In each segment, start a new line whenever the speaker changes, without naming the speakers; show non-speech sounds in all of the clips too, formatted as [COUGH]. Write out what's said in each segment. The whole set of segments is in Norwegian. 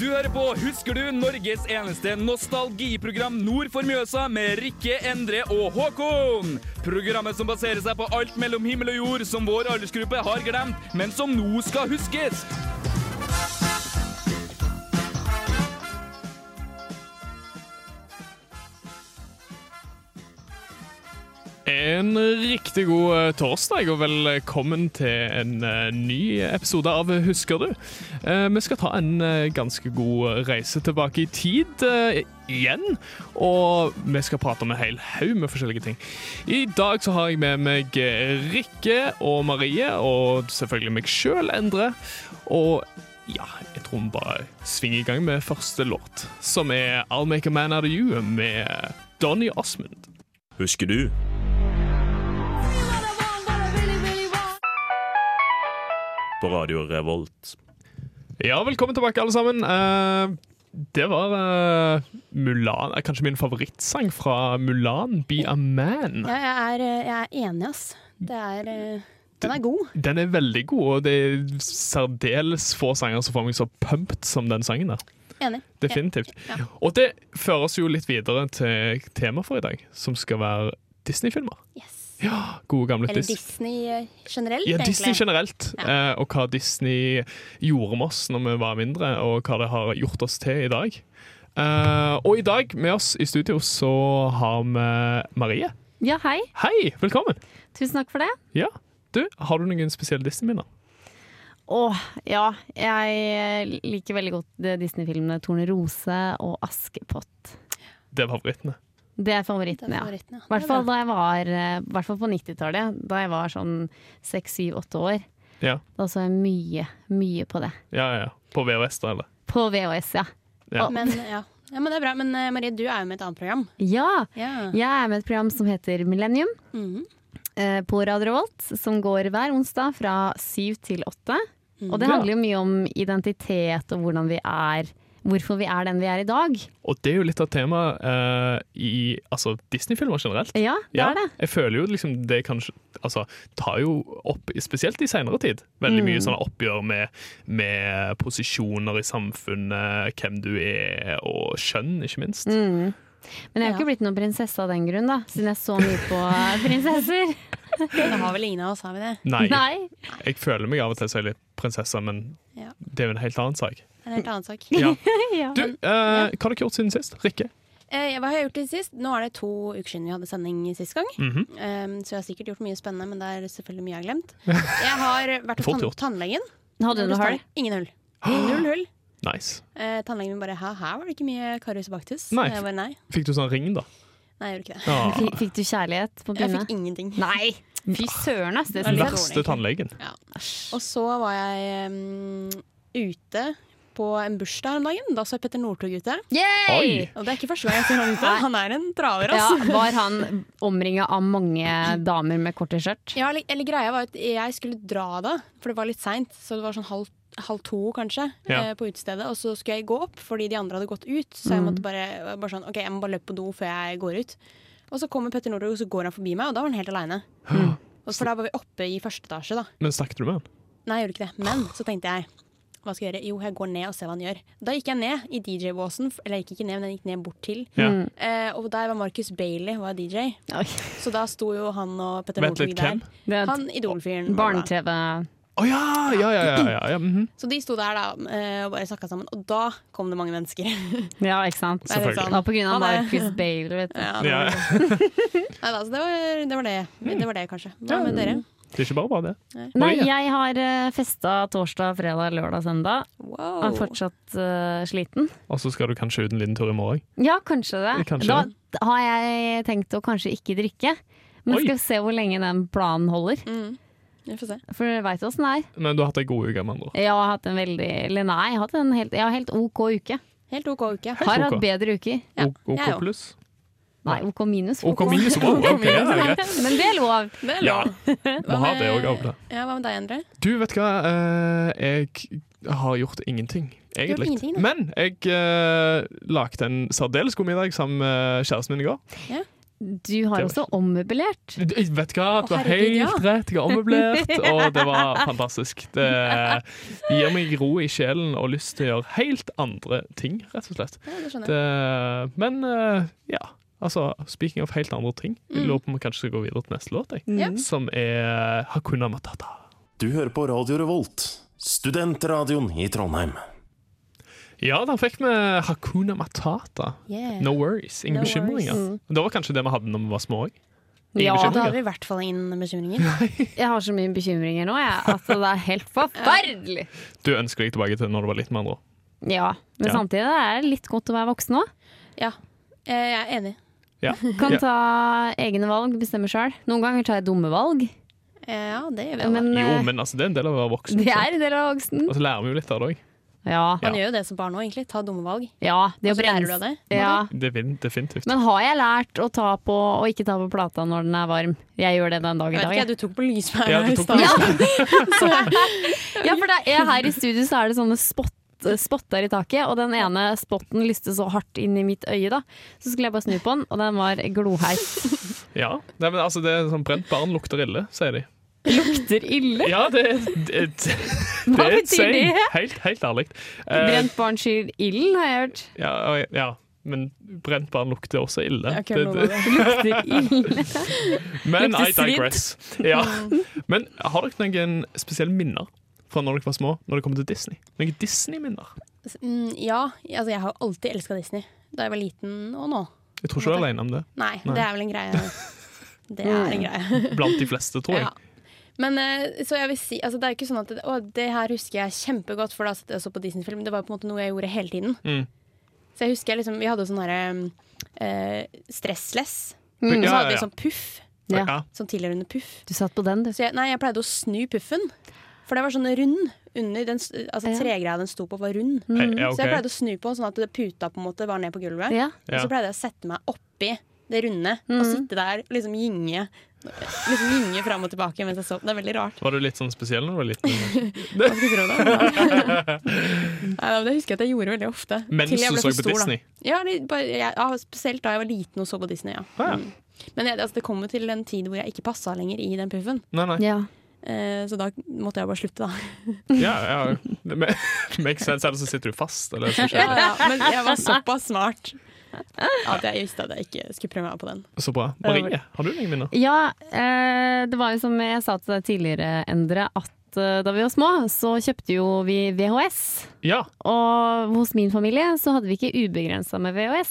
Du hører på Husker du? Norges eneste nostalgiprogram nord for Mjøsa med Rikke, Endre og Håkon. Programmet som baserer seg på alt mellom himmel og jord som vår aldersgruppe har glemt, men som nå skal huskes.
En riktig god eh, torsdag, og velkommen til en eh, ny episode av Husker du? Eh, Vi skal ta en eh, ganske god reise tilbake i tid eh, igjen, og vi skal prate om en hel haug med forskjellige ting. I dag så har jeg med meg eh, Rikke og Marie, og selvfølgelig meg sjøl, Endre. Og ja, jeg tror vi bare svinger i gang med første låt, som er I'll Make a Man Out of You med Donny Osmond.
Husker du? På Radio Revolt.
Ja, velkommen tilbake, alle sammen. Eh, det var eh, Mulan eh, Kanskje min favorittsang fra Mulan, 'Be a Man'.
Ja, jeg er, eh, jeg er enig, ass. Det er, eh, den er god.
Den er veldig god, og det er særdeles få sanger som får meg så pumped som den sangen der.
Enig.
Definitivt. Og det fører oss jo litt videre til temaet for i dag, som skal være Disney-filmer.
Yes.
Ja, gode gamle
Eller
Disney.
Disney eh, generelt,
Ja, Disney
egentlig.
generelt, eh, og hva Disney gjorde med oss når vi var mindre, og hva det har gjort oss til i dag. Eh, og i dag med oss i studio så har vi Marie.
Ja, hei.
Hei, velkommen!
Tusen takk for det.
Ja, du, Har du noen spesielle Disney-minner?
Åh, ja. Jeg liker veldig godt de Disney-filmene Tornerose og Askepott.
Det var favorittene.
Det er
Det er
favorittene, ja.
favoritten, ja.
I hvert fall
Det
da jeg var eh, i hvert fall på 90-tallet, da jeg var sånn seks, syv, åtte år.
Ja,
Da så jeg mye, mye på det.
ja, ja. På VHS, da, eller?
På VHS, ja.
Ja.
er bra. Men, ja. ja, men det er bra. Men eh, Marie, du er jo med et annet program.
Ja!
Ja.
Jeg er med et program som heter Millennium
Mhm.
eh, på Radio Revolt, som går hver onsdag fra syv til åtte. Og det
Ja.
handler jo mye om identitet og hvordan vi er, hvorfor vi er den vi er i dag.
Og det er jo litt av temaet eh, i altså, Disney-filmer generelt.
Ja, det
Ja,
er det.
Jeg føler jo liksom det kanskje Altså, tar jo opp, spesielt i senere tid, veldig mye sånne oppgjør med, med posisjoner i samfunnet, hvem du er, og kjønn, ikke minst.
Men jeg har
Ja.
ikke blitt noen prinsesse av den grunn, da. Siden jeg så mye på
[LAUGHS]
prinsesser.
Det har vel ingen av oss, har vi det?
Nei,
Nei.
Jeg føler meg av og til som en litt prinsesse, men
Ja.
det er jo en helt annen sak.
Det er en helt annen sak.
Ja.
Ja.
Du, eh, hva har dere gjort siden sist? Rikke?
[LAUGHS] Eh, hva har jeg gjort til sist? Nå er det to uker siden vi hadde sending sist gang.
Mhm.
Eh, så jeg har sikkert gjort mye spennende, men det er selvfølgelig mye jeg har
[LAUGHS]
glemt. Jeg har vært hos
Fort
tann
gjort.
tannlegen.
Hadde du noe hull?
Ingen hull.
[GASPS]
Null hull.
Nice.
Eh, tannlegen min bare Hæ, her var det ikke mye karius og baktus?
Nei.
Og Jeg bare, nei.
Fikk du sånn ring, da?
nei, jeg gjorde ikke det.
Ah,
Fikk, fikk du kjærlighet på
Jeg
pinne?
fikk ingenting.
Nei! Fy søren, ass. Det
Ja, litt
synes jeg.
verste tannlegen.
Og så var jeg em, ute på en bursdag her om dagen. Da så jeg Petter Northug ute.
Yay!
Oi!
Og det er ikke første gang jeg ser han ute.
Nei.
Han er en traver,
Ja,
altså.
var han omringa av mange damer med korte skjørt?
Ja, eller, eller greia var at jeg skulle dra da, for det var litt seint. Så det var sånn halv, halv to, kanskje,
Ja.
eh, på utestedet. Og så skulle jeg gå opp fordi de andre hadde gått ut. Så jeg måtte bare, jeg var bare sånn, ok, jeg må bare løpe på do før jeg går ut. Og så kommer Petter Northug, og så går han forbi meg, og da var han helt aleine. For da var vi oppe i første etasje, da.
Men snakket du med han?
Nei, jeg gjorde ikke det. Men så tenkte jeg hva skal jeg gjøre? Jo, jeg går ned og ser hva han gjør. Da gikk jeg ned i DJ-båsen. f- Eller jeg gikk ikke ned, men jeg gikk ned bort til.
Ja.
Eh, og der var Marcus Bailey var DJ.
Oi.
Så da sto jo han og Petter
Vent
Northug
litt, hvem?
der.
Det er
Han Idol-fyren. var det da.
barne-TV.
Å ja, ja, ja, ja, ja, ja. mhm.
Så de sto der da eh, og bare snakka sammen. Og da kom det mange mennesker. [LAUGHS]
Ja, ikke sant?
Det er
Selvfølgelig.
litt
Det
sånn-
var på grunn av
Han er-
Marcus Bale, vet du.
Ja,
ja.
Nei, da, så det var det, var det.
Mm.
det var det, kanskje. Hva med dere?
Det er ikke bare bare det.
Nei,
Marie?
jeg har eh, festa torsdag, fredag, lørdag, søndag.
Wow.
Og er fortsatt eh, sliten.
Og så skal du kanskje ut en liten tur i morgen.
Ja, kanskje det.
Kanskje.
Da har jeg tenkt å kanskje ikke drikke. Men
Oi.
skal se hvor lenge den planen holder.
Mm. Vi får se.
For dere veit åssen det er.
Men du har hatt ei god uke, med andre ord.
Jeg har hatt en veldig Eller nei, jeg har hatt en helt, jeg har helt OK uke.
Helt OK uke.
Helt
Har
ok.
hatt bedre uker.
Ja,
O- OK
jeg òg.
pluss?
Nei, OK minus.
OK
[LAUGHS]
minus og OK. ok, ja, det
[LAUGHS]
er greit.
Men det er lov.
Det er
Ja,
lov.
må ha det òg, Avle.
Ja, hva med deg, Endre?
Du, vet hva? Eh, Jeg har gjort ingenting,
har gjort
egentlig.
ingenting, da.
Men jeg eh, lagde en særdeles god middag sammen med kjæresten min i går.
Du har
Det var
også ommøblert.
Du- du- Vet du hva, du har
herregud,
helt
ja.
rett. Jeg har
[LAUGHS]
ommøblert, og det var fantastisk. Det gir meg ro i sjelen og lyst til å gjøre helt andre ting, rett og slett.
Ja, det skjønner jeg.
Det, men eh, ja, altså speaking of helt andre ting.
Mm.
Jeg lurer på om vi kanskje skal gå videre til neste låt, jeg.
Ja.
Som er Hakuna Matata.
Du hører på Radio Revolt, studentradioen i Trondheim.
Ja, der fikk vi Hakuna Matata.
Yeah.
No worries. Ingen
No
bekymringer.
Mm.
Det var kanskje det vi hadde når vi var små òg.
Ja,
Ja, da har vi i hvert fall ingen
[LAUGHS]
bekymringer.
Jeg har så mye bekymringer nå, jeg. Altså, det er helt forferdelig.
Du ønsker deg tilbake til når du var litt med andre. ord.
Ja, men
Ja.
samtidig er det litt godt å være voksen òg.
Ja, Eh, jeg er enig.
Ja.
[LAUGHS] Kan
Ja.
ta egne valg, bestemme sjøl. Noen ganger tar jeg dumme valg,
Eh, Ja, det gjør vi alle.
men,
Jo,
eh,
men altså, det er en del av å være voksen.
det er en del av voksen.
Og så lærer vi jo litt av det òg.
Ja.
Man gjør jo det som barn òg, egentlig. Ta dumme valg.
ja det
Og
å
så lærer du av
bremse.
det.
Ja.
Defin- Definitivt.
Men har jeg lært å ta på og ikke ta på plata når den er varm? Jeg gjør det den dag i
Jeg vet
dag.
ikke,
jeg.
du tok på lyspæra
Ja, du
i
tok på
stad. [LAUGHS]
Ja. ja, for det er, her i studio så er det sånne spot, spotter i taket, og den ene spotten lyste så hardt inn i mitt øye, da. Så skulle jeg bare snu på den, og den var gloheit.
[LAUGHS]
Ja. Nei, men altså, det er sånn Brent barn lukter ille, sier de.
Lukter ille!
Ja, det, det, det,
Hva
er et
betyr
saying.
det?
Helt, helt ærlig. Eh,
Brent barn skyr ilden, har jeg hørt.
ja, og- ja, men brent barn lukter også ille.
Ok,
Det-
nå
det-
var det.
Lukter ille.
Men
Lukter
I digress.
[LAUGHS]
Ja. Men har dere noen spesielle minner fra når dere var små, når det kommer til Disney? Noen Disney-minner?
Mm, Ja, altså jeg har jo alltid elska Disney. Da jeg var liten og nå.
Jeg tror ikke du er alene om det.
Nei,
Nei.
det er vel en
[LAUGHS]
greie. Det er en greie.
Blant de fleste, tror jeg.
Ja. Men eh, så jeg vil si altså, Det er ikke sånn at det, å, det her husker jeg kjempegodt, for da satt jeg og så på Disney-film. Det var på en måte noe jeg gjorde hele tiden.
Mm.
Så jeg husker jeg liksom Vi hadde jo sånn herre eh, Stressless.
Mm.
Og så
Ja,
hadde
ja,
vi sånn puff.
Ja.
Ja.
Sånn tilhørende puff.
Du satt på den, du.
Så jeg, nei, jeg pleide å snu puffen. For det var sånn rund under. Den, s- altså
Ja. Mm.
Tregreia den sto på, var rund.
Hei, ja,
Mm, Så jeg
ok.
pleide å snu på den sånn at det puta på en måte var ned på gulvet.
Ja.
Og så pleide jeg å sette meg oppi det runde og sitte der og liksom gynge. Liksom gynge fram og tilbake mens jeg sov. Det er veldig rart.
Var du litt sånn spesiell når du var
[LAUGHS]
liten?
Hva skal jeg tro da? Nei, men det husker jeg at jeg gjorde veldig ofte.
Mens
til jeg
du
ble
så
for
på
stor, da.
Disney?
Ja, det, bare, jeg, ja, spesielt da jeg var liten og så på Disney. Ja.
Ah, ja.
Mm. Men jeg, altså, det kom jo til en tid hvor jeg ikke passa lenger i den puffen.
Nei, nei.
Ja.
Eh, så da måtte jeg bare slutte, da.
Ja, [LAUGHS] ja. Det ma- Makes sense. Ellers så sitter du fast. Eller så skjer
Ja,
det.
Ah, ja, [LAUGHS] men jeg var såpass smart at jeg visste at jeg ikke skulle prøve meg på den. [LAUGHS]
Så bra. Marie, har du noen minner?
Ja, eh, det var jo som jeg sa til deg tidligere, Endre, at eh, da vi var små, så kjøpte jo vi VHS.
Ja.
Og hos min familie så hadde vi ikke ubegrensa med VHS.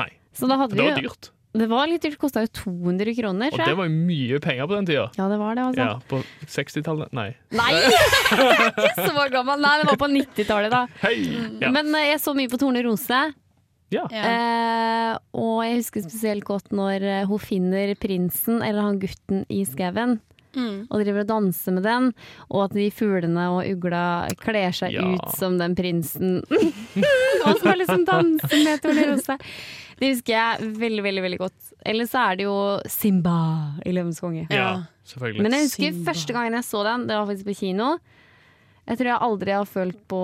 Nei.
Så da
Det
hadde
var
vi,
dyrt.
det var litt dyrt, kosta jo 200 kroner.
Og
tror jeg.
det var jo mye penger på den tida.
Ja, det var det, altså.
Ja, på 60-tallet. Nei.
Nei! [LAUGHS] Jeg er ikke så gammel! Nei, det var på 90-tallet, da.
Hei! Ja.
Men eh, jeg så mye på Torne Rose.
Ja.
Eh, og jeg husker spesielt godt når eh, hun finner prinsen, eller han gutten i skauen,
Mm.
og driver og danser med den. Og at de fuglene og ugla kler seg
Ja.
ut som den
[LAUGHS]
prinsen. og som har liksom danser med Tornerose. Det husker jeg veldig, veldig veldig godt. Eller så er det jo Simba i Løvens konge.
ja,
Ja.
selvfølgelig.
Men jeg husker
Simba.
første gangen jeg så den, det var faktisk på kino. Jeg tror jeg aldri har følt på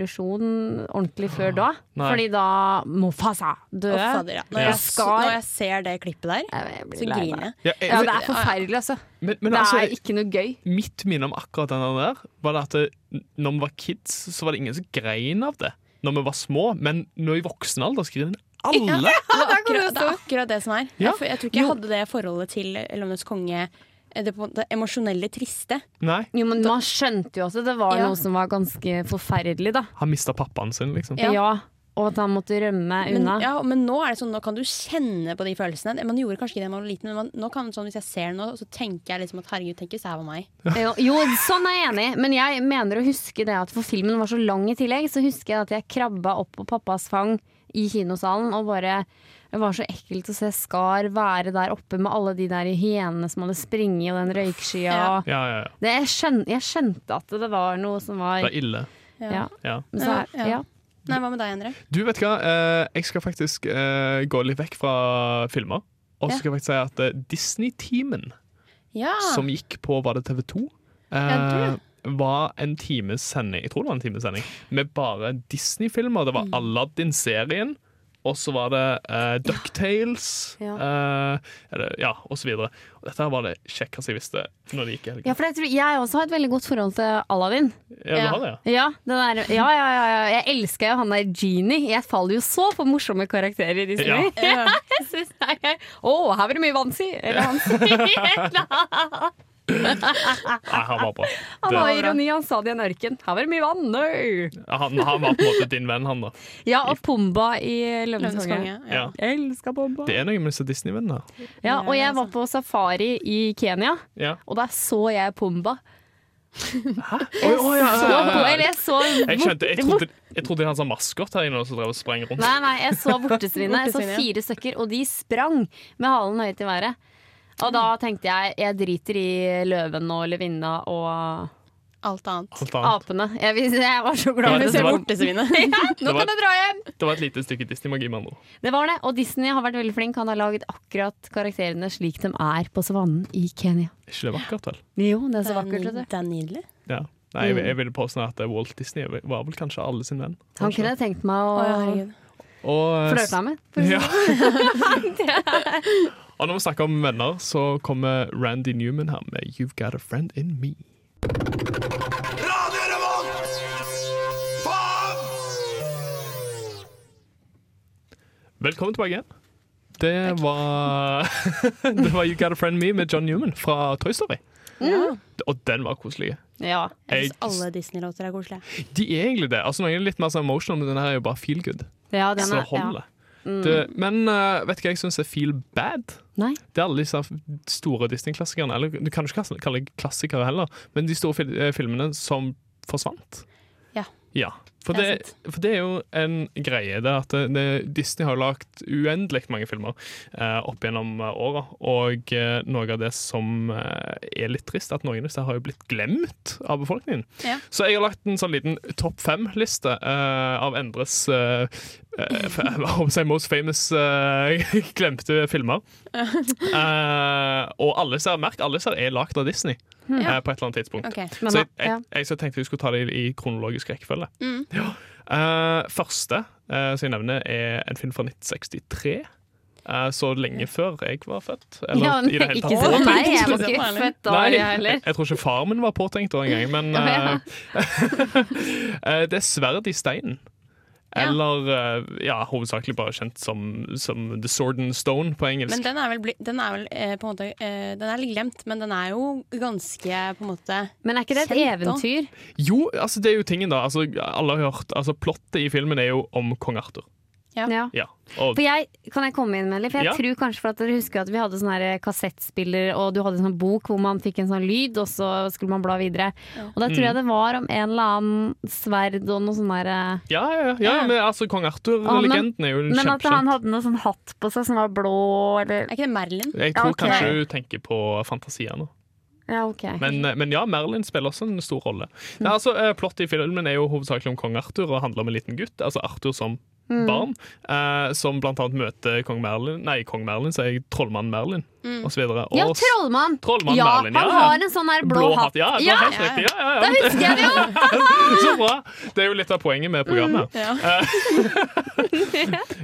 depresjon ordentlig før da.
Ah, Nei.
Fordi da Mofasa
Å,
døde.
fader, ja. Når,
Ja.
jeg, s- når jeg ser det klippet der,
Jeg- jeg blir
så
lei meg.
griner jeg.
Ja, jeg-
Ja, det er forferdelig, altså.
men, men
det
altså,
er ikke noe gøy.
mitt minne om akkurat den der, var det at det, når vi var kids, så var det ingen som grein av det. Når vi var små, men nå i voksen alder så griner alle.
Det er akkurat det, er akkurat det som er.
Ja.
Jeg, for- jeg tror ikke jeg hadde det forholdet til Lønnes konge. eh, Det, på en måte emosjonelle triste.
Nei,
Jo, men man skjønte jo også det var
Ja.
noe som var ganske forferdelig, da.
han mista pappaen sin, liksom.
Ja.
Ja. Og at han måtte rømme
Men,
unna.
ja, men nå er det sånn, nå kan du kjenne på de følelsene. Man gjorde kanskje ikke det da man var liten, men man, nå kan, sånn, hvis jeg ser noe, så tenker jeg liksom at herregud, tenk hvis det her var meg.
[LAUGHS] Jo, jo, sånn er jeg enig i, men jeg mener å huske det at for filmen var så lang i tillegg, så husker jeg at jeg krabba opp på pappas fang i kinosalen og bare Det var så ekkelt å se Skar være der oppe med alle de der hyenene som hadde springet og den røykskya.
Ja.
Ja, ja, ja.
Det, jeg, skjøn, jeg skjønte at det var noe som var
Det er ille.
Ja.
Ja.
Men så er,
Ja, ja.
ja.
Nei, hva med deg, Endre?
Du, vet hva? Eh, Jeg skal faktisk eh, gå litt vekk fra filmer. Og
Ja.
så skal jeg faktisk si at eh, Disney-teamen
Ja.
Ah.
som gikk på Var det TV 2?
Ja,
Eh, var en
Mm.
times sending, jeg tror det var en times sending, med bare Disney-filmer. Det var Aladdin-serien, Og så var det eh, Ducktales.
Ja.
eh, eller, ja, og så videre. Og dette her var det kjekkeste jeg visste når det gikk i helgen.
Ja, for jeg, tror, jeg også har et veldig godt forhold til Aladdin.
Ja, du
Ja.
har det, ja.
Ja, den der, ja, ja, ja, ja. Jeg elsker jo han der genie. Jeg faller jo så for morsomme karakterer i Disney.
Ja.
[LAUGHS] Jeg synes det er gøy. Å, her var det mye vann, si! Eller
[LAUGHS]
han sier et eller annet.
Nei, han var bra.
[LAUGHS] Han
Det,
var ironi, han sa det i en ørken. Her var det mye vann, no!
han, han var på en måte din venn, han, da.
Ja, og Pumba i Løvenes
Løvenes
konge.
konge.
Ja.
Jeg elsker Pumba.
Det er noe med disse Disney-vennene.
Ja, og jeg var på safari i Kenya,
Ja.
og da så jeg Pumba.
Oi, oi, ja,
Så,
ja, ja.
eller jeg så
Ah. Jeg skjønte, jeg trodde, jeg trodde de hadde sånn maskot her inne som drev og sprang rundt.
Nei, nei, jeg [LAUGHS] så vortesvinet. Jeg
Vortesvinet,
så
ja.
fire stykker, og de sprang med halen høyt i været. Og da tenkte jeg jeg driter i løven og løvinna og
Alt annet.
Alt annet.
apene. Jeg, vis- jeg var så
Ja,
glad
det
for å se
var-
bort.
[LAUGHS] Vortesvinet.
Ja,
det
nå
var-
kan jeg dra hjem!
Det var et lite stykke Disney-magi, med andre ord.
Det var det. Og Disney har vært veldig flink. Han har laget akkurat karakterene slik de er på savannen i Kenya.
Er ikke det vakkert, vel?
Jo, det er så vakkert. vet du.
Det er nydelig.
Ja. Nei, jeg,
Mm.
jeg ville påstå at eh, Walt Disney var vel kanskje alle sin venn.
Han kunne jeg tenkt meg å
Å, herregud.
Og, eh,
flørte med. for å si
[LAUGHS] Ja.
[LAUGHS]
og når vi snakker om venner, så kommer Randy Newman her med You've Got a Friend In Me.
Radio Revolt! Faen!
Velkommen tilbake igjen. Det var, [LAUGHS] det var You Got a Friend Me med John Newman fra Toy Story. Og den var koselig.
det. Ja.
Jeg syns
Jeg-
alle Disney-låter er koselige.
De er egentlig det. Altså, noen er litt mer sånn emotional, men denne her er jo bare feel good.
ja, den
Så
er, ja. Mm.
holder. Det, men eh, vet du hva jeg syns er feel bad?
Nei.
Det er alle disse store Disney-klassikerne. Eller du kan jo ikke kalle det klassikere heller, men de store fil eh, filmene som forsvant.
Ja.
Ja. For
Det er
det, for det er jo en greie. Det er at det, det, Disney har lagd uendelig mange filmer eh, opp gjennom eh, åra. Og eh, noe av det som eh, er litt trist, at noen av disse har jo blitt glemt av befolkningen.
Ja.
Så jeg har lagt en sånn liten topp fem-liste eh, av Endres eh, eh, [LAUGHS] f- jeg håper å si most famous eh, [LAUGHS] glemte
[LAUGHS]
filmer. Eh, og alle ser, merk, alle ser er lagd av Disney eh, på et eller annet tidspunkt.
Ok.
Men,
Så jeg,
ja.
jeg, jeg så tenkte vi skulle ta det i, i kronologisk rekkefølge.
Mm.
Ja. Eh, første eh, som jeg nevner, er en film fra 1963. eh, så lenge før jeg var født. Eller
Ja,
i det hele
ikke
tatt.
så Nei, jeg var
Det
ikke
var
født da,
Nei,
jeg
jeg,
heller.
jeg tror ikke far min var påtenkt da engang, men
Ja, ja.
eh, eh, Det er sverd i steinen.
Ja.
Eller eh, ja, hovedsakelig bare kjent som, som The Sword and Stone på engelsk.
Men den er vel, bli, den er vel eh, på en måte eh, Den er litt glemt, men den er jo ganske på en måte
Men er ikke det et
Kjent da.
eventyr?
Jo, altså det er jo tingen, da. Altså, alle har hørt altså, Plottet i filmen er jo om kong Arthur.
Ja.
Ja. Og
For jeg, kan jeg komme inn med litt? For jeg
Ja.
tror kanskje for at dere husker at vi hadde sånn her kassettspiller, og du hadde en sånn bok hvor man fikk en sånn lyd, og så skulle man bla videre. Og da tror
Mm.
jeg det var om en eller annen sverd og noe sånn der eh,
Ja, ja, ja, ja,
Ja.
men altså Kong
Ah, men-
Arthur-legenden er jo
Men at han
kjempekjent.
hadde noe sånn hatt på seg som var blå, eller
Er ikke det Merlin?
Jeg
Ja,
tror
ok.
kanskje du tenker på Fantasia nå.
Ja, OK. Mm.
Men, men ja, Merlin spiller også en stor rolle. Nei, altså, eh, Plottet i filmen er jo hovedsakelig om kong Arthur og handler om en liten gutt. Altså Arthur som
Mm.
barn, eh, som blant annet møter kong Merlin Nei, kong Merlin, sier jeg. Trollmann Merlin, osv.
Mm. Ja, trollmann!
Trollmann
ja,
Merlin, ja,
Han
ja.
har en sånn der blå, hatt.
Ja, det var helt riktig. Ja, ja,
Da
ja.
husker jeg det
[LAUGHS]
jo!
Så bra! Det er jo litt av poenget med programmet.
Mm.
Ja.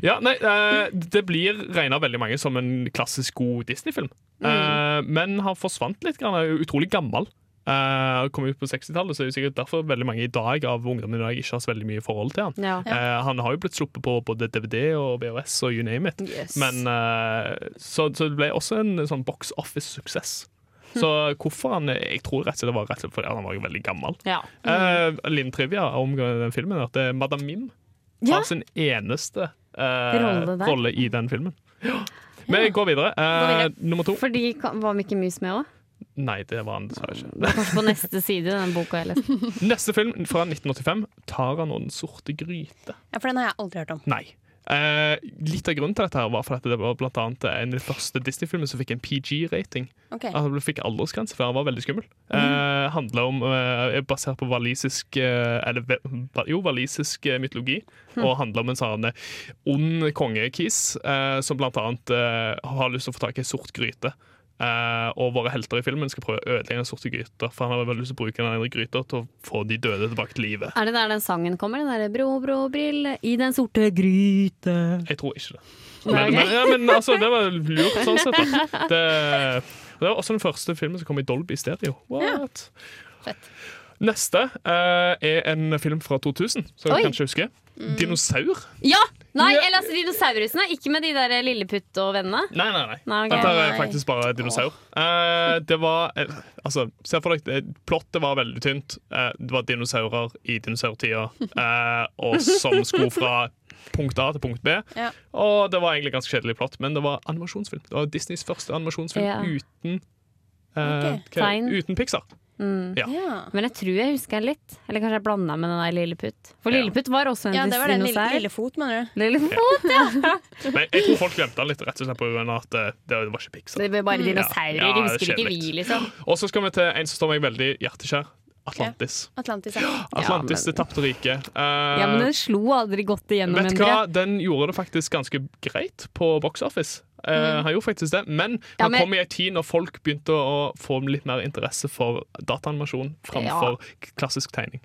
Ja, nei, eh, Det blir regna veldig mange som en klassisk god Disney-film.
Mm.
Eh, men har forsvant litt. Grann, er jo utrolig gammel. Eh, kom ut på 60-tallet, så er det sikkert derfor veldig mange i dag av ungdommen i dag ikke har så veldig mye forhold til han.
Ja.
Eh, han har jo blitt sluppet på både DVD og VHS og you name it.
Yes.
Men, eh, så, så det ble også en sånn box office-suksess. Så
Hm.
hvorfor han Jeg tror rett og slett det var rett og slett fordi han var jo veldig gammel.
Ja.
Eh, liten trivia om den filmen er at det er Madame Mim
Ja.
har sin eneste eh,
Rolle
rolle,
der.
i den filmen. Men jeg går videre. Eh,
videre.
Nummer to.
Fordi kan- var Mikke Mus med òg?
Nei, det var han dessverre ikke.
Kanskje på neste side i den boka [LAUGHS] jeg leste.
Neste film fra 1985, 'Taran og den sorte gryte'.
Ja, for den har jeg aldri hørt om.
Nei. Eh, litt av grunnen til dette her var fordi det var blant annet en av de første Disney-filmene som fikk en PG-rating.
Ok.
Altså, du fikk aldersgrense, for han var veldig skummel. Eh, handla om, eh, er basert på walisisk eh, Eller ve- va- jo, walisisk eh, mytologi. Og handler om en sånn eh, ond kongekis eh, som blant annet eh, har lyst til å få tak i ei sort gryte. eh, og våre helter i filmen skal prøve å ødelegge den sorte gryta. For han har veldig lyst til å bruke den ene gryta til å få de døde tilbake til livet.
Er det der den sangen kommer? Den derre bro, bro, brille i den sorte gryte.
Jeg tror ikke det. Men, men, ja, men altså, det var lurt sånn sett. da. Det, det var også den første filmen som kom i Dolby stereo. What?
Fett.
Neste eh, er en film fra 2000, som
Oi.
jeg kanskje husker. Dinosaur?
Ja! Nei,
Ja.
eller altså dinosaurusene. Ikke med de der Lilleputt og vennene.
Nei, nei, nei.
Nei, ok.
Dette er
Nei.
faktisk bare dinosaur. Eh, det var eh, Altså, se for deg det- Plottet var veldig tynt. Eh, det var dinosaurer i dinosaurtida, eh, og som skulle fra punkt A til punkt B.
Ja.
Og det var egentlig ganske kjedelig plott, men det var animasjonsfilm. Det var Disneys første animasjonsfilm
Ja.
uten eh,
Ok.
hva-
Tegn.
Uten Pixar.
Ja.
Men jeg tror jeg husker den litt. Eller kanskje jeg blanda med den der Lilleputt. For
Ja.
Lilleputt var også en
ja, det var den lille,
dinosaur.
lille fot, mener du?
Lillefot!
Men jeg tror folk glemte den litt, rett og slett på grunn av at eh, det, det var ikke Pixar.
Det var bare
dinosaurer,
dinosaurer.
Mm. Ja,
de husker ikke
kjedelig.
vi, liksom.
Og så skal vi til en som står meg veldig hjertekjær. Atlantis.
Atlantis. Ja.
Atlantis,
Ja, men-
det tapte riket. Eh,
Ja, men den slo aldri godt igjennom.
Vet du hva, den gjorde det faktisk ganske greit på box office. Eh, Han gjorde faktisk det, men
Mm. Ja,
han
men-
kom i en tid når folk begynte å få litt mer interesse for dataanimasjon framfor k- klassisk tegning.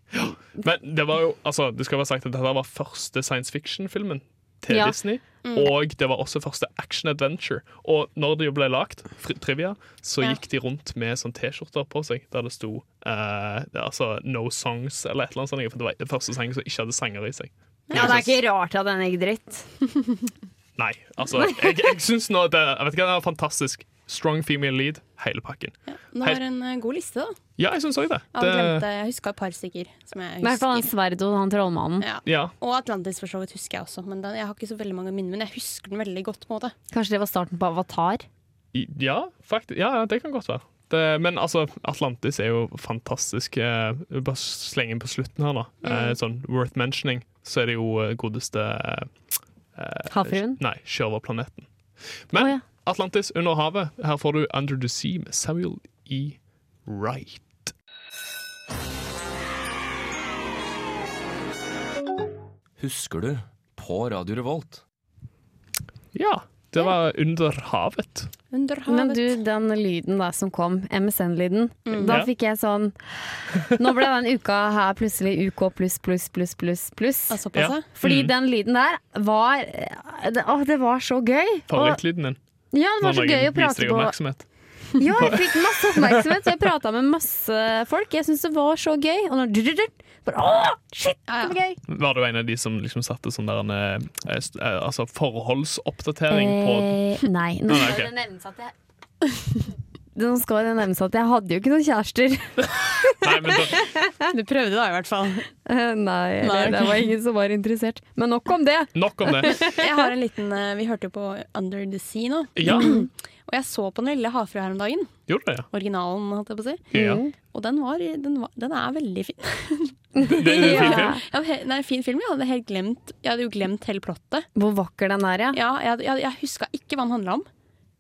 Men det var jo, altså, det skal være sagt at dette var første science fiction-filmen til
Ja. Mm.
Disney. Og det var også første action adventure. Og når det jo ble lagt, fri- trivia, så
Ja.
gikk de rundt med sånn T-skjorter på seg der det sto eh, det er altså No Songs eller et eller annet sånt. For det var den første sangen som ikke hadde sanger i seg.
Ja, Det er ikke rart at den gikk dritt.
Nei, altså Jeg, jeg syns nå det, jeg vet ikke, det er fantastisk. Strong female lead, hele pakken.
Det var en eh, god liste, da.
Ja, jeg syns òg det.
Ja, vi glemte, jeg huska et par stykker. Som jeg
I hvert fall han
husker.
Sverdo, han trollmannen.
Ja.
ja.
Og Atlantis for så vidt husker jeg også, men den, jeg har ikke så veldig mange minner. Men jeg husker den veldig godt. på en måte
Kanskje det var starten på Avatar?
I- Ja, faktisk, ja, ja, det kan godt være. Det, men altså, Atlantis er jo fantastisk. Eh, bare slenge inn på slutten her, da. Eh, sånn worth mentioning. Så er det jo eh, godeste eh,
Havfruen?
Nei, sjørøverplaneten. Men
Å, ja.
Atlantis under havet. Her får du Under the Sea med Samuel E. Wright.
Husker du? På Radio Revolt.
Ja, det var Under havet.
Under
Men
havet.
du, den lyden der som kom, MSN-lyden, da
Ja.
fikk jeg sånn Nå ble den uka her plutselig UK pluss, pluss, pluss, pluss, pluss.
Ja, såpass,
Ja.
ja.
Fordi den lyden der var eh, det, Å, det var så gøy! Og,
Favorittlyden din.
ja, det var
Når
så
noen
gøy å
viser
prate
deg
på.
oppmerksomhet.
Ja, jeg fikk masse
[LAUGHS]
oppmerksomhet, så jeg prata med masse folk. Jeg syntes det var så gøy. Og når drudrudrud, bare, Å, shit, det var gøy!
Var du en av de som liksom satte sånn der en, eh, st- eh, altså forholdsoppdatering på
Eh, nei, nå
Nei,
skal
ok.
det nevnes at jeg [LAUGHS] Nå skal det nevnes at jeg hadde jo ikke noen kjærester.
Nei, men da,
[LAUGHS] Du prøvde da, i hvert fall.
[LAUGHS] Eh, Nei,
Nei,
eller,
ok.
det var ingen som var interessert. Men nok om det.
Nok om det.
Jeg har en liten, eh, Vi hørte jo på Under the Sea nå,
Ja,
og jeg så på Den lille havfrua her om dagen.
gjorde det, ja.
Originalen, holdt jeg på å si.
ja.
Mm.
Og den, var, den, var, den er veldig fin.
[LAUGHS]
Det, det er en fin film.
Ja, he, nei, fin film. Jeg hadde, helt glemt, jeg hadde jo glemt hele plottet.
Hvor vakker den er, ja.
Ja, jeg, jeg, jeg huska ikke hva den handla om.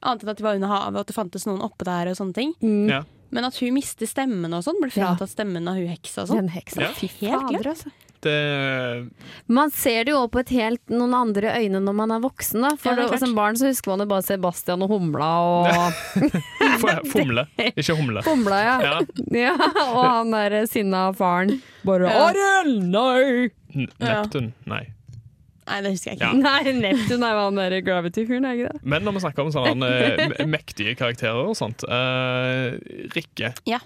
Annet enn at de var under havet, og at det fantes noen oppe der. og sånne ting
Ja.
Men at hun mister stemmen og sånn. Ble
Mm. Ja.
fratatt stemmen av hun heksa og sånn.
Den heksa.
Ja.
Fy
Helt
fader, altså.
Det,
Man ser det jo også på et helt noen andre øyne når man er voksen. da For
Ja, det er
da-
klart.
Som barn så husker man jo bare Sebastian og humla og
f- fomle, ikke humle.
Humla, ja.
Ja.
[LAUGHS] ja. Og han der eh, sinna faren. Bare
Ja.
Ariel, nei!
N- Neptun, nei.
Nei, det husker jeg ikke.
Ja.
Nei, Neptun er jo han der Gravity-fyren, er ikke det?
Men når vi snakker om sånne eh, me- mektige karakterer og sånt eh, Rikke.
Ja.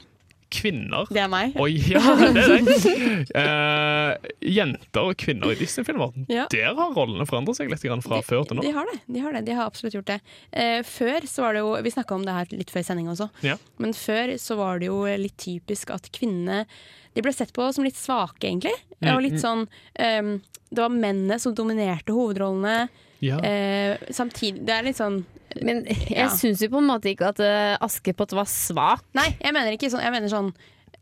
Kvinner.
Det er meg.
Oi, ja, det er det. Eh, jenter og kvinner i Disney-filmer.
Ja.
Der har rollene forandret seg litt grann fra før til nå.
De har det. De har det, de har absolutt gjort det. Eh, før så var det jo Vi snakka om det her litt før sending også.
Ja.
Men før så var det jo litt typisk at kvinnene De ble sett på som litt svake, egentlig.
Mm,
Og litt sånn ehm, Det var mennene som dominerte hovedrollene.
Ja.
Eh, samtidig Det er litt sånn
Men jeg
Ja.
syns jo på en måte ikke at eh, Askepott var svak.
Nei, jeg mener ikke sånn. Jeg mener sånn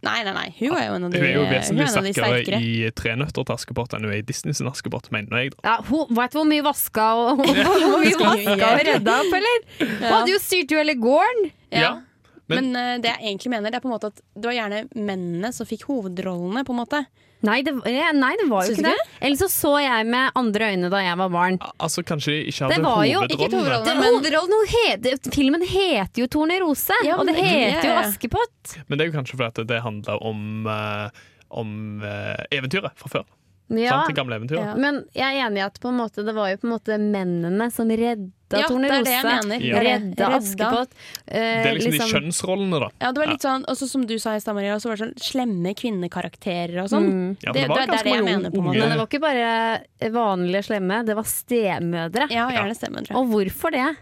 Nei, nei, nei. Hun eh, er jo en av de,
Hun er jo vesentlig
en av de
sterkere i Tre nøtter til Askepott enn hun er i Disney sin Askepott, mener jeg. da.
Ja, hun, vet du hvor mye vaska [LAUGHS] og, hvor mye vaska og redda opp, eller? Hun hadde jo styrt jo hele gården!
Ja.
Men-
Men, eh, det jeg egentlig mener, det er på en måte at det var gjerne mennene som fikk hovedrollene. på en måte
Nei, det, eh, nei, det var jo
Syns
ikke
du
det. Eller så så jeg med andre øyne da jeg var barn.
Altså, kanskje de ikke
Det
hadde
var jo ikke
hovedrollen.
hovedrollen.
Det,
men-
hovedrollen, hun heter- filmen heter jo Tornerose,
Ja,
og det
men-
heter jo
Ja.
Askepott.
Men det er jo kanskje fordi at det handler om, eh, om eh, eventyret fra før.
Ja,
Sant? Det gamle eventyret.
ja. Men jeg er enig i at på en måte, det var jo på en måte mennene som redda
Ja, det er
Tornerose.
det jeg mener.
Ja.
Det er det.
Redda Askepott. Eh,
Det er liksom, de kjønnsrollene, da.
Ja, det var litt sånn, også Som du sa i stad, Maria, så var det sånn slemme kvinnekarakterer og sånn.
Mm. Ja, men
Det-
det var
det- det er
ganske
det jeg
mange
mener på en
unge-
måte.
Men det var ikke bare vanlige slemme, det var stemødre.
Ja, gjerne stemmer.
Og hvorfor det?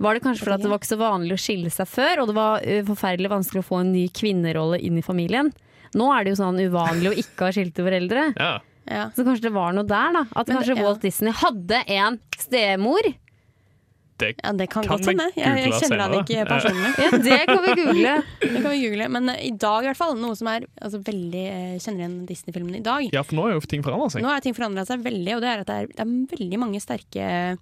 Var det kanskje fordi at det var ikke så vanlig å skille seg før, og det var ø, forferdelig vanskelig å få en ny kvinnerolle inn i familien? Nå er det jo sånn uvanlig å ikke ha skilte foreldre.
Ja.
Ja.
Så kanskje det var noe der, da. At
Men det-
kanskje
ja.
Walt Disney hadde en stemor.
Det,
ja, det kan,
Kan
godt hende.
vi
Jeg, jeg
google
kjenner han
senere?
ikke personlig.
Ja, det kan vi google.
Det kan vi google. Men eh, i dag, i hvert fall, noe som er altså, veldig eh, kjenner igjen Disney-filmene i dag.
ja, for nå er jo ting forandra seg.
Nå har ting forandra seg veldig, og det er at det er, det er veldig mange sterke eh,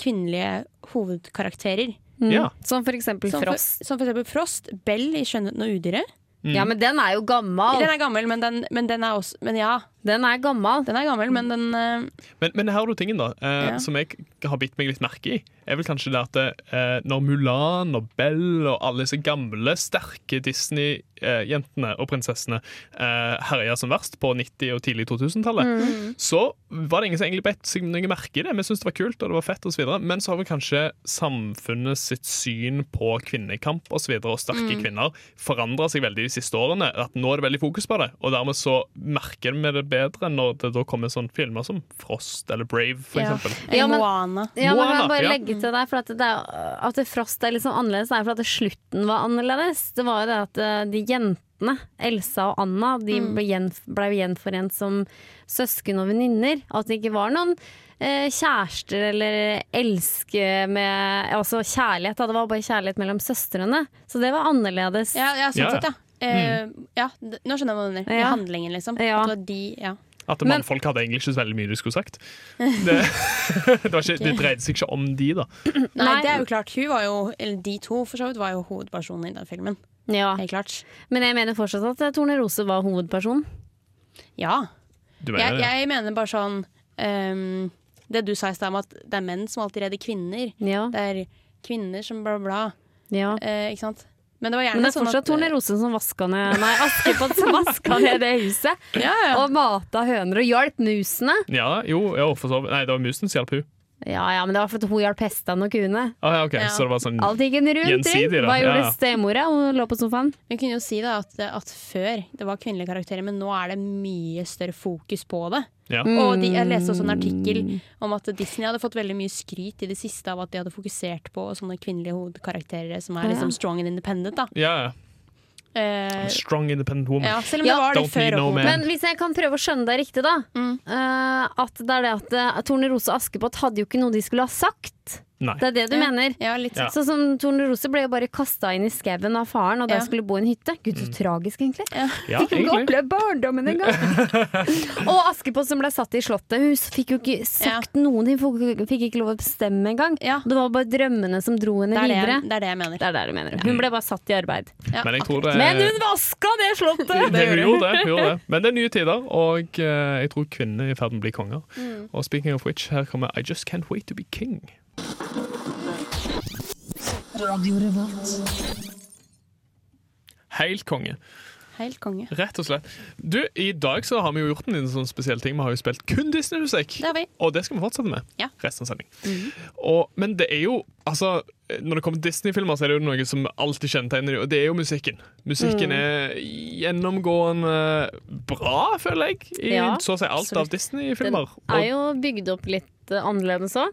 kvinnelige hovedkarakterer.
Ja.
[LAUGHS] Som for eksempel
Som for,
Frost.
som for eksempel Frost, Bell i 'Skjønnheten og udyret'.
Ja, men den er jo gammal.
Den er gammel, men den, men den er også Men ja,
Den er gammal.
den er gammel, men den eh,
Men, men her har du tingen, da, eh,
Ja.
som jeg har bitt meg litt merke i. Er vel kanskje det at eh, når Mulan og Bell og alle disse gamle, sterke Disney-jentene og prinsessene eh, herja som verst på 90- og tidlig 2000-tallet, så var det ingen som egentlig bet seg noe merke i det. Vi syntes det var kult og det var fett, og så videre, men så har vel kanskje samfunnet sitt syn på kvinnekamp og, så videre, og sterke
Mm.
kvinner forandra seg veldig de siste årene. At nå er det veldig fokus på det, og dermed så merker vi det bedre når det da kommer sånne filmer som Frost eller Brave, for
Ja.
eksempel.
Ja, men-
Moana.
Ja, men kan jeg
Moana,
bare
ja.
legge til der, for at, det er, at det Frost er litt sånn annerledes, det er for at det slutten var annerledes. Det var jo det at eh, de jentene, Elsa og Anna, de
Mm.
ble, gjen, ble gjenforent som søsken og venninner. At det ikke var noen eh, kjærester eller elske med Altså kjærlighet, da. Det var bare kjærlighet mellom søstrene. Så det var annerledes.
Ja, ja sånn
Ja, Mm. ja.
sett, ja. Eh, ja, d- nå skjønner jeg hva du mener.
Ja.
Handlingen, liksom.
Ja.
At det var de, ja.
At
Men-
mannfolk hadde egentlig ikke så veldig mye de skulle
[LAUGHS]
sagt. Det, [LAUGHS] det, var ikke, det dreide seg ikke om de, da.
Nei,
Nei.
det er jo klart. Hun var jo, eller de to for så vidt, var jo hovedpersonen i den filmen.
Ja.
Helt klart.
Men jeg mener fortsatt at eh, Torne Rose var hovedpersonen.
Ja.
Du mener
Jeg,
det?
jeg mener bare sånn ehm, Det du sa i stad om at det er menn som alltid redder kvinner.
Ja,
Det er kvinner som bla, bla.
ja.
eh, ikke sant? Men det var gjerne
Men det er eh,
sånn
fortsatt
at
Torne Rose som vaska ned Nei, Askepott som vaska ned det [LAUGHS] huset.
Ja, ja.
Og mata høner og hjalp musene.
Ja, jo, jo, for så vidt. Nei, det var musen som hjalp hun.
Ja, ja, men det var fordi hun hjalp hestene og kuene.
Ah, ja, ok,
Ja.
Så det var sånn
Alt gikk en rundt
Gjensidig,
ring.
da.
Hva gjorde
Ja, ja.
stemora? Hun lå på sofaen.
eh, Vi kunne jo si da at, at før det var kvinnelige karakterer, men nå er det mye større fokus på det.
Ja.
Og de, jeg leste også en artikkel
Mm.
om at Disney hadde fått veldig mye skryt i det siste av at de hadde fokusert på sånne kvinnelige hovedkarakterer som er
Ja.
liksom strong and independent. Da.
ja, ja.
Eh,
Strong independent woman.
ja, selv om
Mm. Ja.
det var det
Don't need
før.
no
og-
man.
Men hvis jeg kan prøve å skjønne deg riktig, da. eh, at det er det at eh, Torne Rose og Askepott hadde jo ikke noe de skulle ha sagt.
Nei.
Det er det du
Ja.
mener.
Ja, litt
Ja.
sånn.
Sånn som Torne Rose ble jo bare kasta inn i skauen av faren, og der
Ja.
skulle bo i en hytte. Gud,
Mm.
så tragisk, egentlig.
[LAUGHS]
Ja,
Fikk jo ikke
egentlig.
oppleve barndommen engang. [LAUGHS] og Askepott som ble satt i Slottet, hun fikk jo ikke sagt noen ting. Hun fikk ikke lov å bestemme engang.
Ja.
Det var bare drømmene som dro henne
Det, er det,
videre.
jeg- det er det jeg mener.
Det er det du mener. Hun ble bare satt i arbeid.
Ja.
Men jeg tror det
Men hun vaska det slottet!
Eh. det, hun gjorde det, hun gjorde det. Men det er nye tider, og eh, jeg tror kvinner er i ferd med å bli konger. Og speaking of which, her kommer I Just Can't Wait To Be King. Helt konge.
Helt konge.
Rett og slett. Du, I dag så har vi jo gjort en liten sånn spesiell ting. Vi har jo spilt kun Disney-musikk.
Det har vi.
Og det skal vi fortsette med.
Ja.
Resten av sending.
Mhm.
og, men det er jo altså, Når det kommer til Disney-filmer, så er det jo noe som alltid kjennetegner dem, og det er jo musikken. Musikken
Mm.
er gjennomgående bra, føler jeg, i
Ja,
så å si alt av Disney-filmer.
Er
Og-
jo bygd opp litt eh, annerledes òg.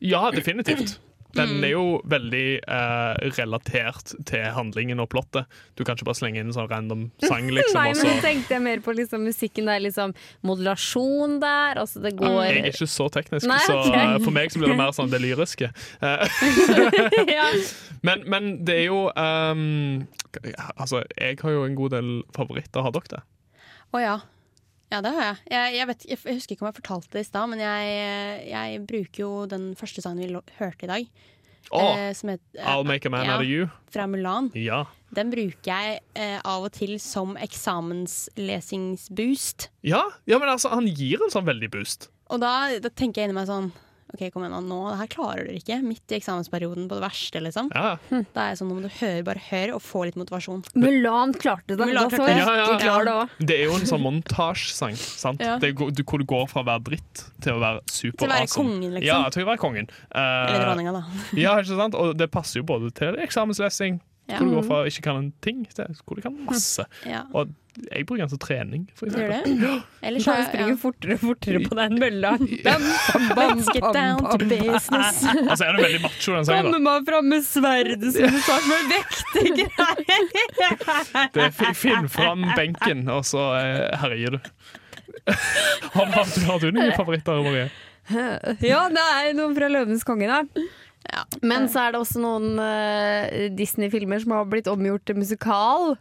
Ja, definitivt. Den
Mm.
er jo veldig eh, relatert til handlingen og plottet. Du kan ikke bare slenge inn en sånn random
[LAUGHS]
sang, liksom.
Nei,
og
men
så-
nå tenkte jeg mer på liksom musikken. Det er liksom modulasjon der. Altså det går
Jeg er ikke så teknisk,
Nei,
så
ok.
eh, for meg så blir det mer sånn det lyriske. Eh,
[LAUGHS] ja.
Men, men det er jo ehm, Altså, jeg har jo en god del favoritter. Har dere det?
Å ja. Ja, det har jeg. Jeg, jeg, vet, jeg f- jeg husker ikke om jeg fortalte det i stad, men jeg, jeg bruker jo den første sangen vi lo- hørte i dag.
Åh,
eh, som heter eh,
I'll make a man
ja,
out of you.
fra Mulan.
Ja.
Den bruker jeg eh, av og til som eksamenslesingsboost.
Ja, ja, men altså, han gir en sånn veldig boost.
Og da, da tenker jeg inni meg sånn OK, kom igjen, nå, nå, det her klarer du ikke. Midt i eksamensperioden på det verste, liksom.
Ja,
Da er jeg sånn, nå må du høre, bare hør, og få litt motivasjon.
Mulan klarte det.
Mulan
Da
klarte
så jeg.
det. Ja, ja.
Du klarer det også.
Det er jo en sånn montasjesang, sant?
Ja.
Det går- du, hvor du går fra å være dritt til å være super
Til å være
awesome.
kongen, liksom.
Ja, til å være kongen. Eh,
Eller dronninga, da.
ja, ikke sant? Og det passer jo både til eksamenslesing,
Ja.
hvor
Mm.
du går fra å ikke kan en ting, til hvor du kan masse.
Ja.
Og jeg bruker den som trening, for
Gjør
eksempel.
det? [GASPS] Ellers
Da
er
springer
ja.
fortere og fortere på den mølla.
Let's get down to business. [LAUGHS]
Altså, er det veldig macho, den sangen, da?
Kommer man fram med sverdet som du sa, med vektegreier.
Det er fi- finn fram benken, og så eh, herjer du. [LAUGHS] har, har, har du noen favoritter, Marie?
[LAUGHS] Ja, det er noen fra 'Løvenes konge', da. Men så er det også noen eh, Disney-filmer som har blitt omgjort til musikal.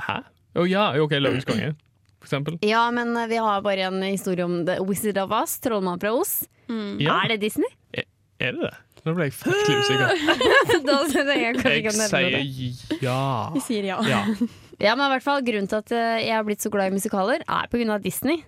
Hæ? Å ja, OK, Løvenes konge, for eksempel.
Ja, men eh, vi har bare en historie om The Wizard of Us, trollmann fra Os.
Ja,
Mm. Er det Disney?
er det det? Nå ble jeg fryktelig usikker.
[LAUGHS] da tenker [LAUGHS] jeg kanskje ikke
Jeg
å nevne det.
sier ja.
Vi sier ja.
Ja.
Ja, men i hvert fall Grunnen til at eh, jeg har blitt så glad i musikaler, er pga. Disney.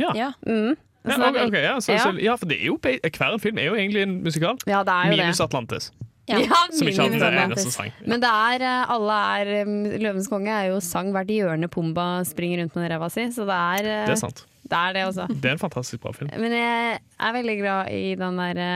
Ja.
Mm.
Ja,
Så det er
ok,
vel-
ok, ja, så,
Ja.
så, ja, for det er jo, be- hver film er jo egentlig en musikal.
ja, det er jo
Minus
det.
Atlantis,
Ja,
som ikke hadde en
minus Atlantis.
eneste sang.
Men det er, eh, alle er eh, Løvenes konge er jo sang hvert hjørne Pumba springer rundt med ræva si, så det er eh,
Det er sant.
det, er det
[LAUGHS]
også.
Det er en fantastisk bra film.
Men jeg er veldig glad i den derre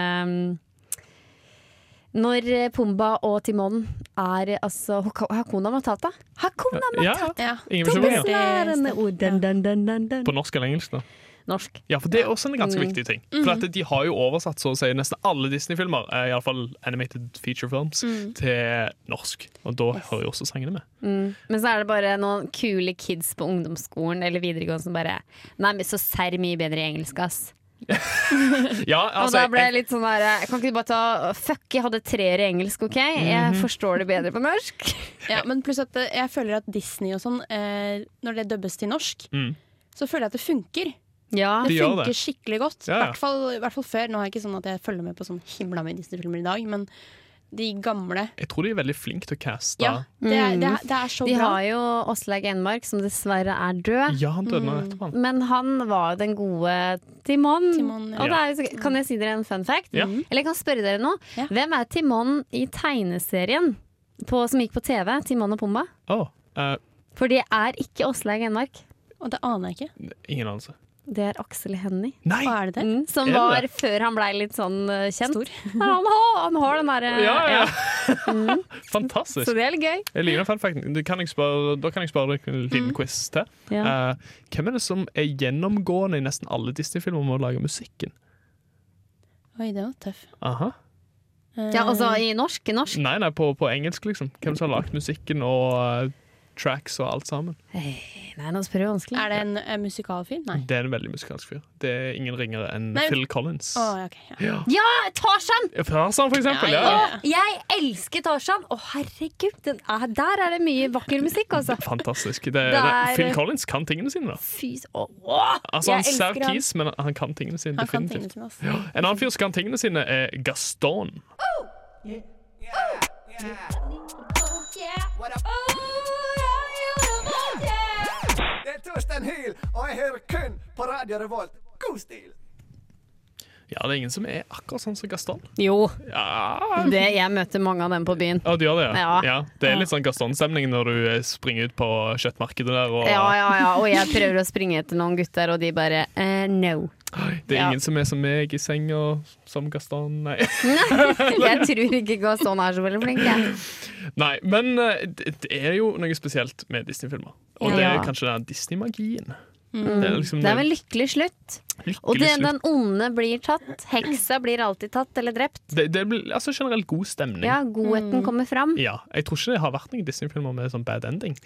når eh, Pumba og Timon er eh, altså Hoka- Hakuna Matata. Hakuna
Ja,
Matata!
ja.
ingen
Det
bekymringer.
besnærende ord. Dun, dun, dun, dun, dun.
På norsk eller engelsk, da?
Norsk.
Ja, for det er også en ganske
Mm.
viktig ting. For at de har jo oversatt så å si nesten alle Disney-filmer, eh, i alle fall animated feature films,
Mm.
til norsk. Og da hører jo også sangene med.
Men så er det bare noen kule kids på ungdomsskolen eller videregående som bare Nei, men så serr mye bedre i engelsk, ass.
Ja, altså,
og da ble jeg
jeg,
litt sånn der Kan ikke du bare ta Fuck, jeg hadde treer i engelsk, OK? Jeg forstår det bedre på norsk.
Ja, men pluss at eh, jeg føler at Disney og sånn, eh, når det dubbes til norsk,
Mm.
så føler jeg at det funker.
Ja. [LAUGHS]
Det
De gjør
funker
det.
skikkelig godt. I
Ja, ja.
hvert fall- i hvert fall før. Nå er jeg ikke sånn at jeg følger med på sånn himla mye Disney-filmer i dag, men de gamle
jeg tror de er veldig flinke til å caste.
Ja,
Ja,
det er, det er, det er så
De
bra.
har jo Åslaug Enmark, som dessverre er død.
han døde
Mm.
nå etterpå. han.
Men han var jo den gode Timon.
Timon, ja.
Og det er jo så, kan jeg si dere en fun fact? Mhm.
Ja.
Eller jeg kan spørre dere nå.
Ja.
Hvem er Timon i tegneserien på, som gikk på TV? Timon og Pumba?
Å, eh,
For det er ikke Åslaug Enmark.
Og det aner jeg ikke.
ingen anelse. Det
Det er Aksel Hennie.
Nei!
Hva er det det?
Mm, som
Er det?
var før han blei litt sånn eh, kjent.
Stor.
Nei, han, har, han har den derre
Ja, ja. Fantastisk.
Så det er litt gøy.
Jeg liker den fun facten. Du, Kan jeg spørre, da kan jeg spørre deg en
Mm.
liten quiz til. Eh, hvem er det som er gjennomgående i nesten alle Disney-filmer med å lage musikken?
Oi, det var tøff.
Aha.
Ja, altså i norsk. i norsk.
Nei, nei, på, på engelsk, liksom. Hvem som har lagd musikken og eh, tracks og alt sammen.
Nei, nå spør du vanskelig.
Er det en, eh, musikalfilm? Nei.
Det er en veldig musikalsk fyr. Det er ingen ringere enn
Nei, men-
Phil Collins.
Å, ja, ok. Ja.
Ja, Tarzan!
Tarzan, for eksempel.
Ja,
Ja, ja.
ja.
Å, jeg elsker Tarzan! Å, herregud, den er, der er det mye vakker musikk, altså.
Fantastisk. Det, det,
er-
Phil Collins kan tingene sine, da.
Fy s- å, å,
Altså, han
jeg
ser
elsker han.
kis, men han kan tingene sine.
Han kan
definitivt.
tingene sine, altså.
En annen fyr som kan tingene sine, er Gaston.
Det er Torstein Hyl, og jeg hører kun på Radio Revolt. God stil!
Ja, det er ingen som er akkurat sånn som Gaston.
Jo,
Ja,
det, jeg møter mange av dem på byen.
ja du gjør det, ja.
Ja.
Det er litt sånn Gaston-stemning når du eh, springer ut på kjøttmarkedet der. Og,
Ja, ja, ja, og jeg prøver å springe etter noen gutter, og de bare eh, no.
Det er
Ja.
ingen som er som meg i senga, som Gaston. Nei.
Jeg tror ikke Gaston er så veldig flink, jeg.
Nei, men eh, det det er jo noe spesielt med Disney-filmer. Og det
Ja.
er kanskje den Disney-magien.
Mm.
Det er liksom
Det er en lykkelig slutt.
lykkelig
Og det,
slutt.
den onde blir tatt. Heksa blir alltid tatt eller drept.
Det, det blir altså generelt god stemning.
Ja, godheten kommer fram.
Ja, Jeg tror ikke det har vært noen Disney-filmer med sånn bad ending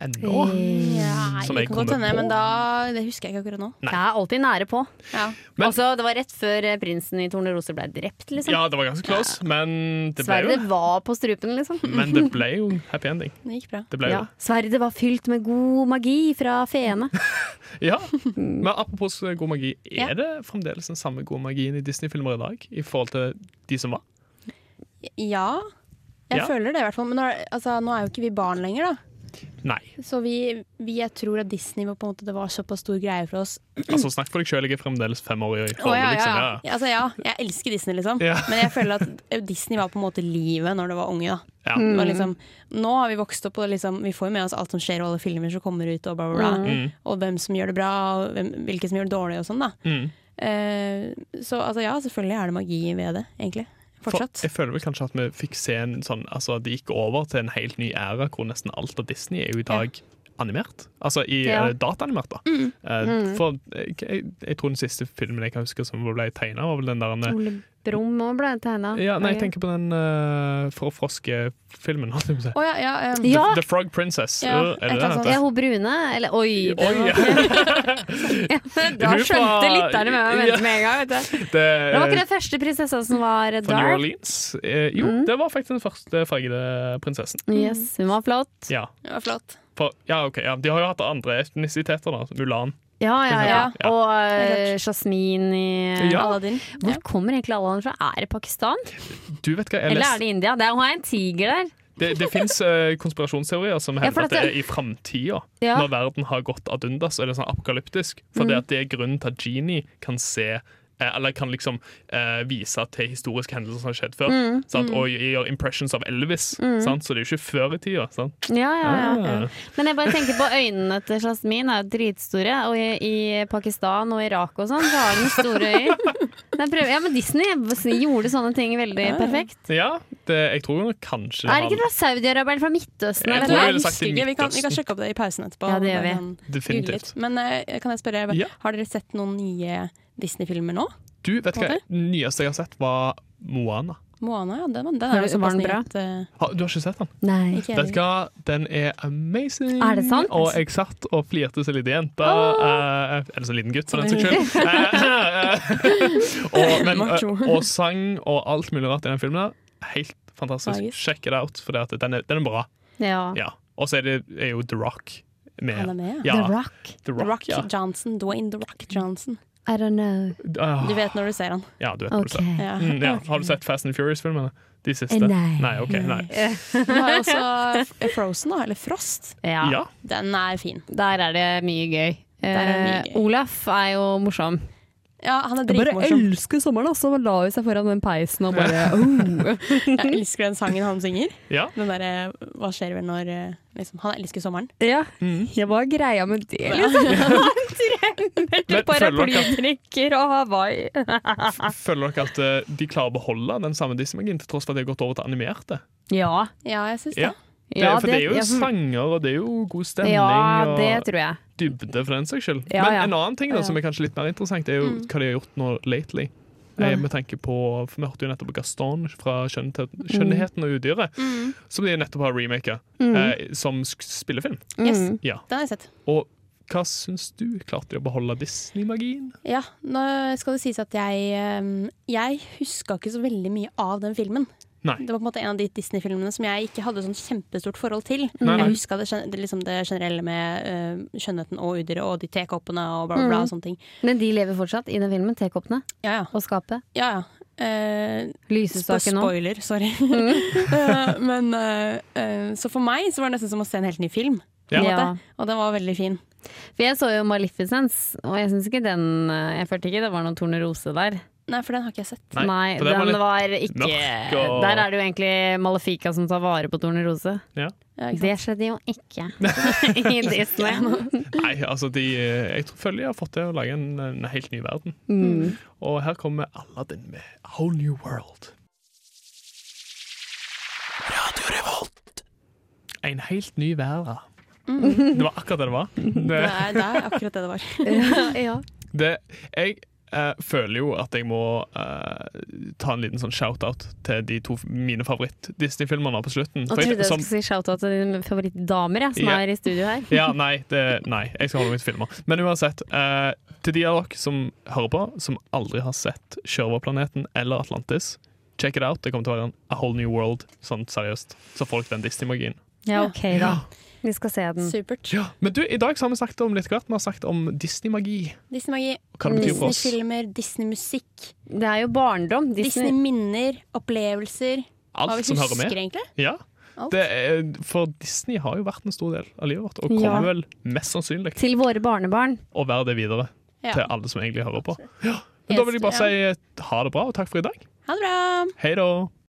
ennå.
Ja,
Som
det
jeg
kan godt
kommer på.
hende, men da, det husker jeg ikke akkurat nå.
Jeg er alltid nære på.
Ja.
Men-
altså, det var rett før eh, prinsen i Tornerose ble drept, liksom.
Ja, det var ganske close, men det ble jo
Sverdet var på strupen, liksom.
Men det ble jo happy ending.
Det gikk bra.
Det ble jo
Ja. Sverdet var fylt med god magi
[LAUGHS]
fra feene.
det. Ja. Men apropos god magi, er
Ja.
det fremdeles den samme gode magien i Disney-filmer i dag i forhold til de som var?
Ja. Jeg
Ja.
føler det i hvert fall. Men nå er, altså, nå er jo ikke vi barn lenger, da.
Nei.
Så vi, vi jeg tror at Disney var på en måte det var såpass stor greie for oss.
Altså, snakk for deg sjøl, jeg er fremdeles fem år i
Å, ja,
hodet,
ja.
liksom. Ja.
Ja, Altså, ja, jeg elsker Disney, liksom.
Ja.
Men jeg føler at eh, Disney var på en måte livet når det var unge. da.
Ja.
Det
Mm.
var liksom, nå har vi vokst opp, og liksom, vi får jo med oss alt som skjer, og alle filmer som kommer ut, og bla, bla,
Mm.
bla. Og hvem som gjør det bra, og hvem, hvilke som gjør det dårlig, og sånn, da.
Mm.
Eh, så altså, ja, selvfølgelig er det magi ved det, egentlig.
For,
Fortsatt.
jeg føler vel kanskje at vi fikk se en sånn Altså at det gikk over til en helt ny æra hvor nesten alt av Disney er jo i dag animert. Altså i
Ja. Mm.
eh, dataanimert, da. Eh, for jeg, jeg, jeg tror den siste filmen jeg kan huske som ble tegna, var vel den der eh,
Ole Brumm òg ble tegna.
ja, Nei, jeg tenker på den uh, forfroske-filmen. [LAUGHS] holdt jeg på å si.
Å ja, ja, eh,
ja,
The Frog Princess.
Ja,
Øh, er
et
det
eller
den
annet
heter?
er sånn, hun brune? Eller oi!
Oi, [LAUGHS]
det var- [LAUGHS] da
Hun
skjønte
fra-
lytterne med meg
Ja.
mente med en gang. Vet du.
Det,
[LAUGHS] Det var ikke den første prinsessa som
fra
var
New
dark. Mm.
Orleans. Eh, jo, det var faktisk den første fargede prinsessen.
Yes, hun var flott.
Ja.
det var flott.
For, ja, ok, ja. De har jo hatt andre etnisiteter, da. Mulan.
Ja, ja, ja.
Ja.
Og uh, Jasmin i
Ja.
Eh, Aladdin.
Hvor kommer egentlig alle han fra? Er det Pakistan?
Du vet hva, jeg
Eller
leste
er det India? Det er, hun er en tiger der.
Det, det fins konspirasjonsteorier som
Ja, for
hevder at det
dette-
er i framtida,
Ja. Mm.
når verden har gått ad undas, så er det sånn apokalyptisk. For det, at det er grunnen til at Genie kan se eh, eller kan liksom eh, vise til historiske hendelser som har skjedd før.
Mm,
Sant? Og gjør impressions av Elvis. Sant? Så det er jo ikke før i tida. Sant?
Ja, ja, ja.
Ah.
Men jeg bare tenker på øynene til Jasmin er jo dritstore. Og i, i Pakistan og Irak og sånn, så har hun store øyne. Jeg prøver- Ja, men Disney gjorde sånne ting veldig perfekt.
Ja, det, jeg tror nok kanskje
Er det
han-
ikke fra Saudi-Arabia eller fra Midtøsten?
Jeg
eller
tror jeg
Nei,
noe?
ville
jeg
sagt
husker
i
ikke. Vi kan, vi kan
Midtøsten.
sjekke opp det i pausen etterpå.
Ja, det gjør vi.
Bare google
Definitivt.
litt. Men eh, kan jeg spørre,
Ja.
har dere sett noen nye Disney-filmer nå?
Du, vet hva?
Måte?
Den nyeste jeg har sett, var Moana.
Moana, ja. Den, den
Har
er
du-
jo såpass
var den
ny
bra?
at eh,
Har- Du har ikke sett den?
Nei.
ikke
Vet
jeg
du hva, den er amazing!
Er det sant?
Og jeg satt og flirte som liten jente. eh, eller som liten gutt, for den saks skyld.
[LAUGHS]
Eh, og, men, eh, og sang og alt mulig rart i den filmen. der. Helt fantastisk.
Magisk.
Sjekk det out, for det at den, er, den er bra.
Ja.
Ja. Og så er, det- er jo The Rock med.
Han er med, ja.
ja.
The Rock.
The
The
Rock,
Rock
ja.
Johnson. Dwayne The Rock Johnson.
I don't know.
Ah,
Du vet når du ser han.
ja, du vet hva du
Ok.
sa.
Ja.
Mm, ja. Har du sett Fast and Furious-filmene? De siste?
Eh, nei.
Nei, ok, nei.
Han har også F- Frozen, da. Eller Frost.
Ja.
Ja.
Den er fin.
Der er det mye gøy.
Der er det mye gøy.
Eh, Olaf er jo morsom.
Ja, han er dritmorsom.
elsker sommeren, altså. Han la seg foran den peisen og bare oh.
Jeg elsker den sangen han synger.
ja.
Den derre Hva skjer vel når eh, liksom, Han elsker sommeren.
Ja.
Mm.
Jeg var greia med det, liksom. [LAUGHS] Han trener til
Men føler dere at-
paraplydrikker og Hawaii.
Føler dere at eh, de klarer å beholde den samme Disney-magien, til tross for at de har gått over til animerte?
Ja.
Ja, jeg syns det.
Ja. Det,
Ja,
for det, er jo
ja,
sanger, og det er jo god stemning
Ja,
og
det tror jeg.
dybde, for den saks skyld.
Ja,
Men
ja. Mm.
en annen ting da, som er kanskje litt mer interessant, er jo hva de har gjort nå lately. Eh, Med tanke på, for Vi hørte jo nettopp Gaston fra
Mm.
'Skjønnhet- 'Skjønnheten og udyret', som de nettopp har remaka
Mm.
eh, som sk- spillefilm.
Yes,
Ja.
Den har jeg sett.
Og hva syns du? Klarte de å beholde Disney-magien?
Ja, nå skal det sies at jeg eh, Jeg huska ikke så veldig mye av den filmen.
Nei.
Det var på en måte en av de Disney-filmene som jeg ikke hadde sånn kjempestort forhold til.
Nei, nei.
Jeg huska det, gen- det, liksom det generelle med eh, skjønnheten og udyret og de tekoppene og bla, bla, bla. Og sånne ting.
Men de lever fortsatt i den filmen, tekoppene
Ja, ja.
og skapet.
ja, ja. Eh,
Lysesaken òg.
spoiler, sorry. [LAUGHS] Eh, Men eh, eh, Så for meg så var det nesten som å se en helt ny film. på en
Ja.
måte. Og den var veldig fin.
For jeg så jo Maleficence, og jeg syns ikke den eh, Jeg følte ikke det var noen tornerose der.
Nei, for den har ikke jeg sett.
Nei,
for
den
den var
var,
litt
ikke
mørk og-
Der er det jo egentlig Malefika som tar vare på tornerose.
Ja, ikke sant?
Det skjedde jo
[LAUGHS]
ikke i Disney.
Nei, altså de, eh, jeg tror følger de har fått til å lage en, en helt ny verden. Og her kommer Aladdin med A Whole New World. Radio Revolt. En helt ny verden. Det var akkurat det det var. Det,
Det er, det er akkurat det det var.
[LAUGHS] ja.
det, jeg eh, føler jo at jeg må eh, ta en liten sånn shout-out til de to f- mine favoritt-Disney-filmene på slutten.
Jeg
For
trodde jeg
som-
skulle si shout-out til dine favorittdamer jeg, som
Ja.
er i studio her.
Ja, nei, det, nei, jeg skal holde meg til filmer. Men uansett, eh, til de av dere som hører på, som aldri har sett Sjørøverplaneten eller Atlantis, check it out. Det kommer til å være en A Whole New World, sånn seriøst. Så får dere den Disney-magien.
Ja, ok da. Vi skal se den.
Supert.
Ja, Men du, i dag så har vi snakket om litt hvert. Vi har snakket om Disney-magi.
Disney-magi,
og Hva det betyr for oss.
Disney-filmer, Disney-musikk,
Det er jo barndom. Disney.
Disney-minner, opplevelser. Hva
alt
vi
som hører
husker,
med.
egentlig?
Ja.
Alt.
Det er, for Disney har jo vært en stor del av livet vårt, og
Ja.
kommer vel mest sannsynlig
Til våre barnebarn.
å være det videre
Ja.
til alle som egentlig hører på. Ja. Men da vil jeg bare
Helt-
si eh, ha det bra, og takk for i dag.
Ha det bra!
Hei da.